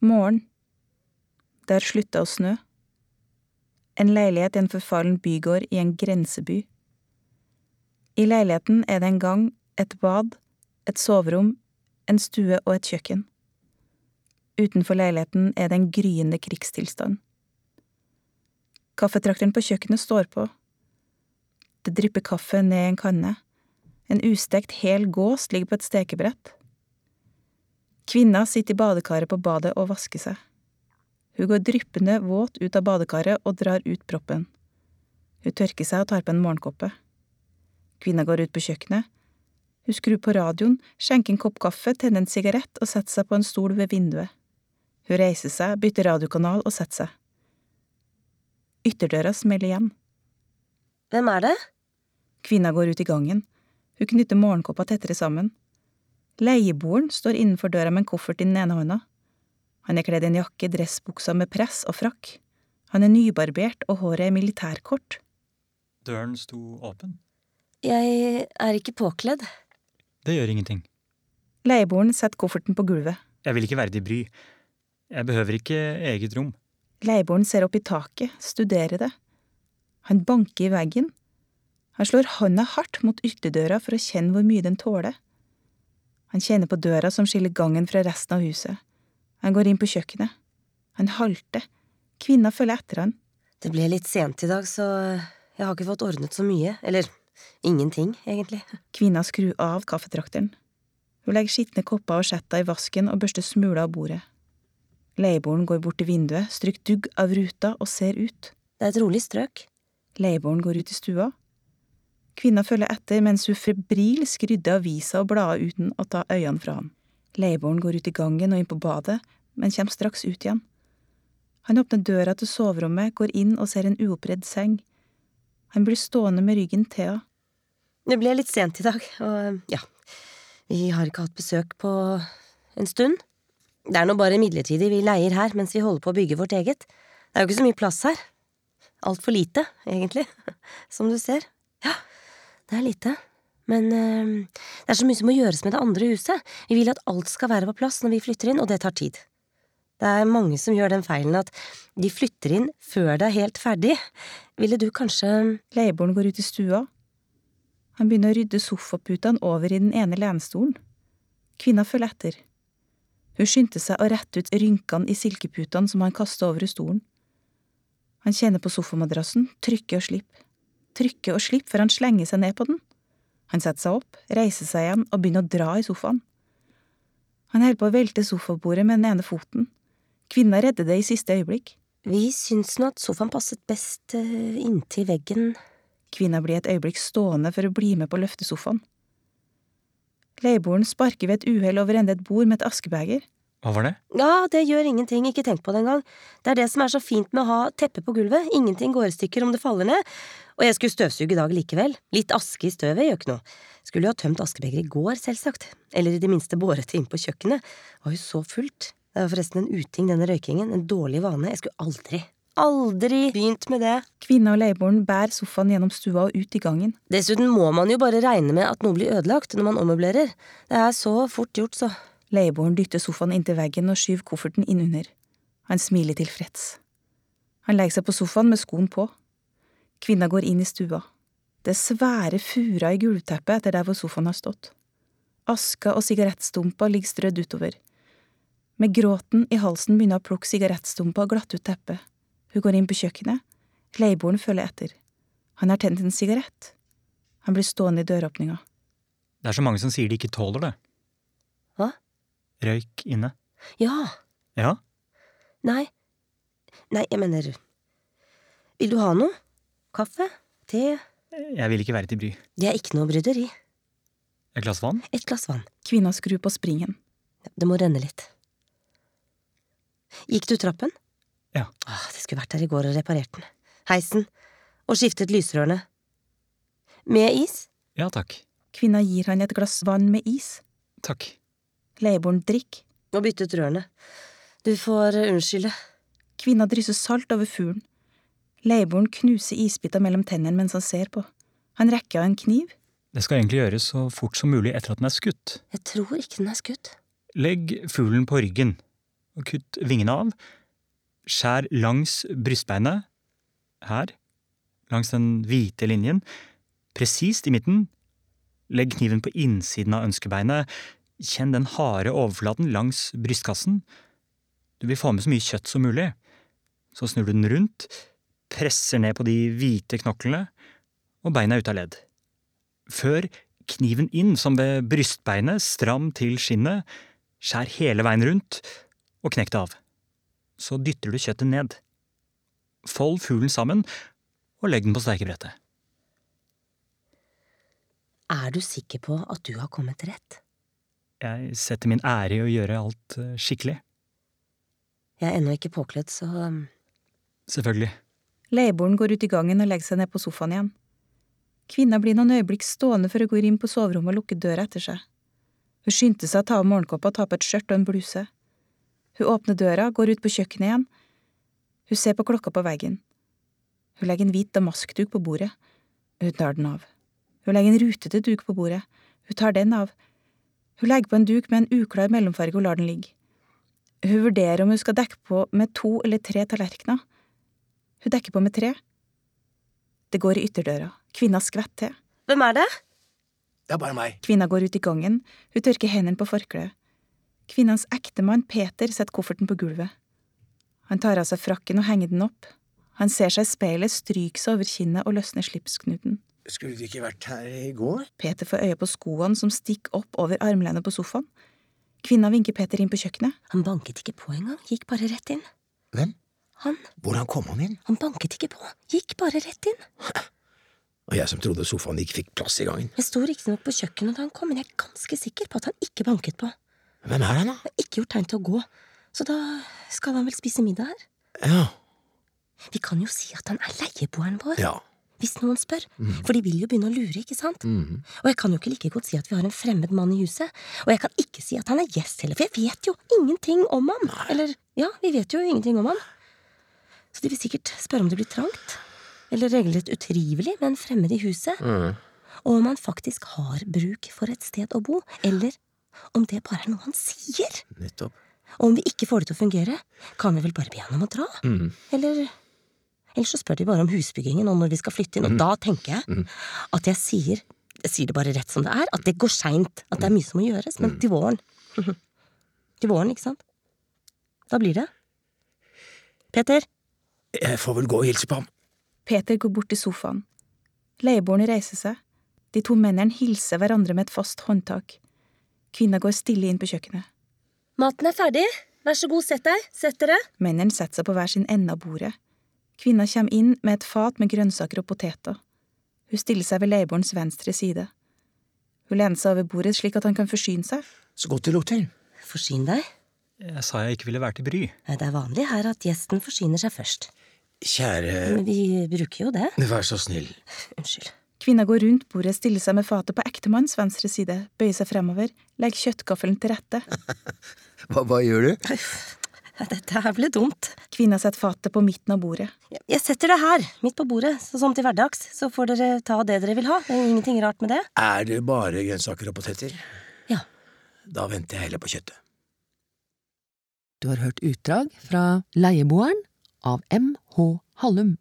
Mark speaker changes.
Speaker 1: Morgen. Det har slutta å snø. En leilighet i en forfallen bygård i en grenseby. I leiligheten er det en gang, et bad, et soverom, en stue og et kjøkken. Utenfor leiligheten er det en gryende krigstilstand. Kaffetrakteren på kjøkkenet står på. Det drypper kaffe ned i en kanne. En ustekt hel gås ligger på et stekebrett. Kvinna sitter i badekaret på badet og vasker seg. Hun går dryppende våt ut av badekaret og drar ut proppen. Hun tørker seg og tar på en morgenkoppe. Kvinna går ut på kjøkkenet. Hun skrur på radioen, skjenker en kopp kaffe, tenner en sigarett og setter seg på en stol ved vinduet. Hun reiser seg, bytter radiokanal og setter seg. Ytterdøra smeller igjen.
Speaker 2: Hvem er det?
Speaker 1: Kvinna går ut i gangen. Hun knytter morgenkåpa tettere sammen. Leieboeren står innenfor døra med en koffert i den ene hånda. Han er kledd i en jakke, dressbuksa med press og frakk. Han er nybarbert, og håret er militærkort.
Speaker 3: Døren sto åpen.
Speaker 2: Jeg er ikke påkledd.
Speaker 3: Det gjør ingenting.
Speaker 1: Leieboeren setter kofferten på gulvet.
Speaker 3: Jeg vil ikke være til bry. Jeg behøver ikke eget rom.
Speaker 1: Leieboeren ser opp i taket, studerer det. Han banker i veggen. Han slår hånda hardt mot ytterdøra for å kjenne hvor mye den tåler. Han kjenner på døra som skiller gangen fra resten av huset. Han går inn på kjøkkenet. Han halter. Kvinna følger etter han.
Speaker 2: Det ble litt sent i dag, så jeg har ikke fått ordnet så mye. Eller ingenting, egentlig.
Speaker 1: Kvinna skrur av kaffetrakteren. Hun legger skitne kopper og skjetter i vasken og børster smuler av bordet. Leieboeren går bort til vinduet, stryker dugg av ruta og ser ut.
Speaker 2: Det er et rolig strøk.
Speaker 1: Leieboeren går ut i stua. Kvinna følger etter mens hun febrilsk rydder aviser og blader uten å ta øynene fra ham. Leieboeren går ut i gangen og inn på badet, men kommer straks ut igjen. Han åpner døra til soverommet, går inn og ser en uoppredd seng. Han blir stående med ryggen til henne.
Speaker 2: Det ble litt sent i dag, og ja Vi har ikke hatt besøk på en stund. Det er nå bare midlertidig vi leier her mens vi holder på å bygge vårt eget. Det er jo ikke så mye plass her. Altfor lite, egentlig. Som du ser. Ja, det er lite. Men eh, det er så mye som må gjøres med det andre huset. Vi vil at alt skal være på plass når vi flytter inn, og det tar tid. Det er mange som gjør den feilen at de flytter inn før det er helt ferdig. Ville du kanskje
Speaker 1: Leieboeren går ut i stua. Han begynner å rydde sofaputene over i den ene lenstolen. Kvinna følger etter. Hun skyndte seg å rette ut rynkene i silkeputene som han kastet over i stolen. Han kjenner på sofamadrassen, trykker og slipper. Trykker og slipper før han slenger seg ned på den. Han setter seg opp, reiser seg igjen og begynner å dra i sofaen. Han holder på å velte sofabordet med den ene foten. Kvinna redder det i siste øyeblikk.
Speaker 2: Vi syns nå at sofaen passet best eh, inntil veggen.
Speaker 1: Kvinna blir et øyeblikk stående for å bli med på å løfte sofaen. Leieboeren sparker ved et uhell over ende et bord med et askebeger.
Speaker 3: Hva var det?
Speaker 2: Ja, det gjør ingenting, ikke tenk på det engang. Det er det som er så fint med å ha teppe på gulvet, ingenting går i stykker om det faller ned. Og jeg skulle støvsuge i dag likevel. Litt aske i støvet gjør ikke noe. Skulle jo ha tømt askebegeret i går, selvsagt. Eller i det minste båret det inn på kjøkkenet. Det var jo så fullt. Det er jo forresten en uting, denne røykingen. En dårlig vane. Jeg skulle aldri, aldri begynt med det.
Speaker 1: Kvinna og leieboeren bærer sofaen gjennom stua og ut i gangen.
Speaker 2: Dessuten må man jo bare regne med at noe blir ødelagt når man ommøblerer. Det er så fort gjort, så.
Speaker 1: Leieboeren dytter sofaen inntil veggen og skyver kofferten innunder. Han smiler tilfreds. Han legger seg på sofaen med skoen på. Kvinna går inn i stua. Det er svære furer i gulvteppet etter der hvor sofaen har stått. Aska og sigarettstumper ligger strødd utover. Med gråten i halsen begynner hun å plukke sigarettstumper og glatte ut teppet. Hun går inn på kjøkkenet. Leieboeren følger etter. Han har tent en sigarett. Han blir stående i døråpninga.
Speaker 3: Det er så mange som sier de ikke tåler det.
Speaker 2: Hva?
Speaker 3: Røyk inne.
Speaker 2: Ja.
Speaker 3: Ja,
Speaker 2: Nei. Nei, jeg mener Vil du ha noe? Kaffe? Te?
Speaker 3: jeg vil ikke være til bry.
Speaker 2: Det er ikke noe bryderi.
Speaker 3: Et glass vann?
Speaker 2: Et glass vann.
Speaker 1: Kvinna skrur på springen.
Speaker 2: Det må renne litt. Gikk du trappen?
Speaker 3: Ja.
Speaker 2: Åh, det skulle vært der i går og reparert den. Heisen. Og skiftet lysrørene. Med is?
Speaker 3: Ja takk.
Speaker 1: Kvinna gir han et glass vann med is.
Speaker 3: Takk.
Speaker 1: Leieboeren drikker.
Speaker 2: Og byttet rørene. Du får eh, unnskylde.
Speaker 1: Kvinna drysser salt over fuglen. Leieboeren knuser isbiter mellom tennene mens han ser på. Han rekker av en kniv.
Speaker 3: Det skal egentlig gjøres så fort som mulig etter at den er skutt.
Speaker 2: Jeg tror ikke den er skutt.
Speaker 3: Legg fuglen på ryggen. kutt vingene av. Skjær langs brystbeinet, her, langs den hvite linjen, presist i midten. Legg kniven på innsiden av ønskebeinet, kjenn den harde overflaten langs brystkassen. Du vil få med så mye kjøtt som mulig. Så snur du den rundt, presser ned på de hvite knoklene, og beina er ute av ledd. Før kniven inn, som ved brystbeinet, stram til skinnet, skjær hele veien rundt, og knekk det av. Så dytter du kjøttet ned. Fold fuglen sammen, og legg den på steikebrettet.
Speaker 2: Er du sikker på at du har kommet rett?
Speaker 3: Jeg setter min ære i å gjøre alt eh, skikkelig.
Speaker 2: Jeg er ennå ikke påkledd, så um,
Speaker 3: Selvfølgelig.
Speaker 1: Leieboeren går ut i gangen og legger seg ned på sofaen igjen. Kvinna blir noen øyeblikk stående før hun går inn på soverommet og lukker døra etter seg. Hun skyndte seg å ta av morgenkåpa og ta på et skjørt og en bluse. Hun åpner døra, går ut på kjøkkenet igjen. Hun ser på klokka på veggen. Hun legger en hvit damaskduk på bordet. Hun tar den av. Hun legger en rutete duk på bordet. Hun tar den av. Hun legger på en duk med en uklar mellomfarge og lar den ligge. Hun vurderer om hun skal dekke på med to eller tre tallerkener. Hun dekker på med tre. Det går i ytterdøra. Kvinna skvetter til.
Speaker 2: Hvem er det?
Speaker 4: Det er bare meg.
Speaker 1: Kvinna går ut i gangen. Hun tørker hendene på forkleet. Kvinnens ektemann, Peter, setter kofferten på gulvet. Han tar av seg frakken og henger den opp. Han ser seg i speilet, stryker seg over kinnet og løsner slipsknuten.
Speaker 4: Skulle du ikke vært her i går?
Speaker 1: Peter får øye på skoene som stikker opp over armlenet på sofaen. Kvinna vinker Peter inn på kjøkkenet.
Speaker 2: Han banket ikke på engang, gikk bare rett inn.
Speaker 4: Hvem?
Speaker 2: Han,
Speaker 4: Hvordan kom han inn?
Speaker 2: han banket ikke på, gikk bare rett inn.
Speaker 4: Og jeg som trodde sofaen ikke fikk plass i gangen.
Speaker 2: Jeg sto riktignok på kjøkkenet da han kom, men jeg er ganske sikker på at han ikke banket på. Han
Speaker 4: Hvem er han, da?
Speaker 2: har ikke gjort tegn til å gå, så da skal han vel spise middag her?
Speaker 4: Ja.
Speaker 2: Vi kan jo si at han er leieboeren vår,
Speaker 4: Ja.
Speaker 2: hvis noen spør,
Speaker 4: Mm.
Speaker 2: for de vil jo begynne å lure, ikke sant? Og jeg kan jo ikke like godt si at vi har en fremmed mann i huset, og jeg kan ikke si at han er gjest heller, for jeg vet jo ingenting om ham. Eller, ja, vi vet jo ingenting om ham. Så de vil sikkert spørre om det blir trangt, eller regelrett utrivelig med en fremmed i huset,
Speaker 4: Mm.
Speaker 2: og om han faktisk har bruk for et sted å bo, eller om det bare er noe han sier.
Speaker 4: Nettopp.
Speaker 2: Og om vi ikke får det til å fungere, kan vi vel bare be han om å dra?
Speaker 4: Mm.
Speaker 2: Eller Ellers så spør de bare om husbyggingen og når vi skal flytte inn, og da tenker jeg at jeg sier jeg sier det bare rett som det er, at det går seint, at det er mye som må gjøres, men til våren. til våren, ikke sant? Da blir det. Peter,
Speaker 4: Jeg får vel gå og hilse på ham.
Speaker 1: Peter går bort til sofaen. Leieboeren reiser seg. De to mennene hilser hverandre med et fast håndtak. Kvinna går stille inn på kjøkkenet.
Speaker 2: maten er ferdig. Vær så god, sett deg. Sett dere.
Speaker 1: Mennene setter seg på hver sin ende av bordet. Kvinna kommer inn med et fat med grønnsaker og poteter. Hun stiller seg ved leieboerens venstre side. Hun lener seg over bordet slik at han kan forsyne seg.
Speaker 4: Så godt det lukter.
Speaker 2: Forsyn deg.
Speaker 3: Jeg sa jeg ikke ville være til bry.
Speaker 2: Nei, Det er vanlig her at gjesten forsyner seg først.
Speaker 4: Kjære
Speaker 2: Men vi bruker jo det.
Speaker 4: Vær så snill.
Speaker 2: Unnskyld.
Speaker 1: Kvinna går rundt bordet, stiller seg med fatet på ektemannens venstre side, bøyer seg fremover, legger kjøttgaffelen til rette.
Speaker 4: Hva, hva gjør du?
Speaker 2: Ja, Dette her ble dumt.
Speaker 1: Kvinna setter fatet på midten av bordet.
Speaker 2: Jeg- Jeg setter det her, midt på bordet, så som til hverdags. Så får dere ta det dere vil ha. Det er ingenting rart med det.
Speaker 4: Er det bare grønnsaker og poteter?
Speaker 2: Ja.
Speaker 4: Da venter jeg heller på kjøttet.
Speaker 5: Du har hørt utdrag fra Leieboeren av M.H. Hallum.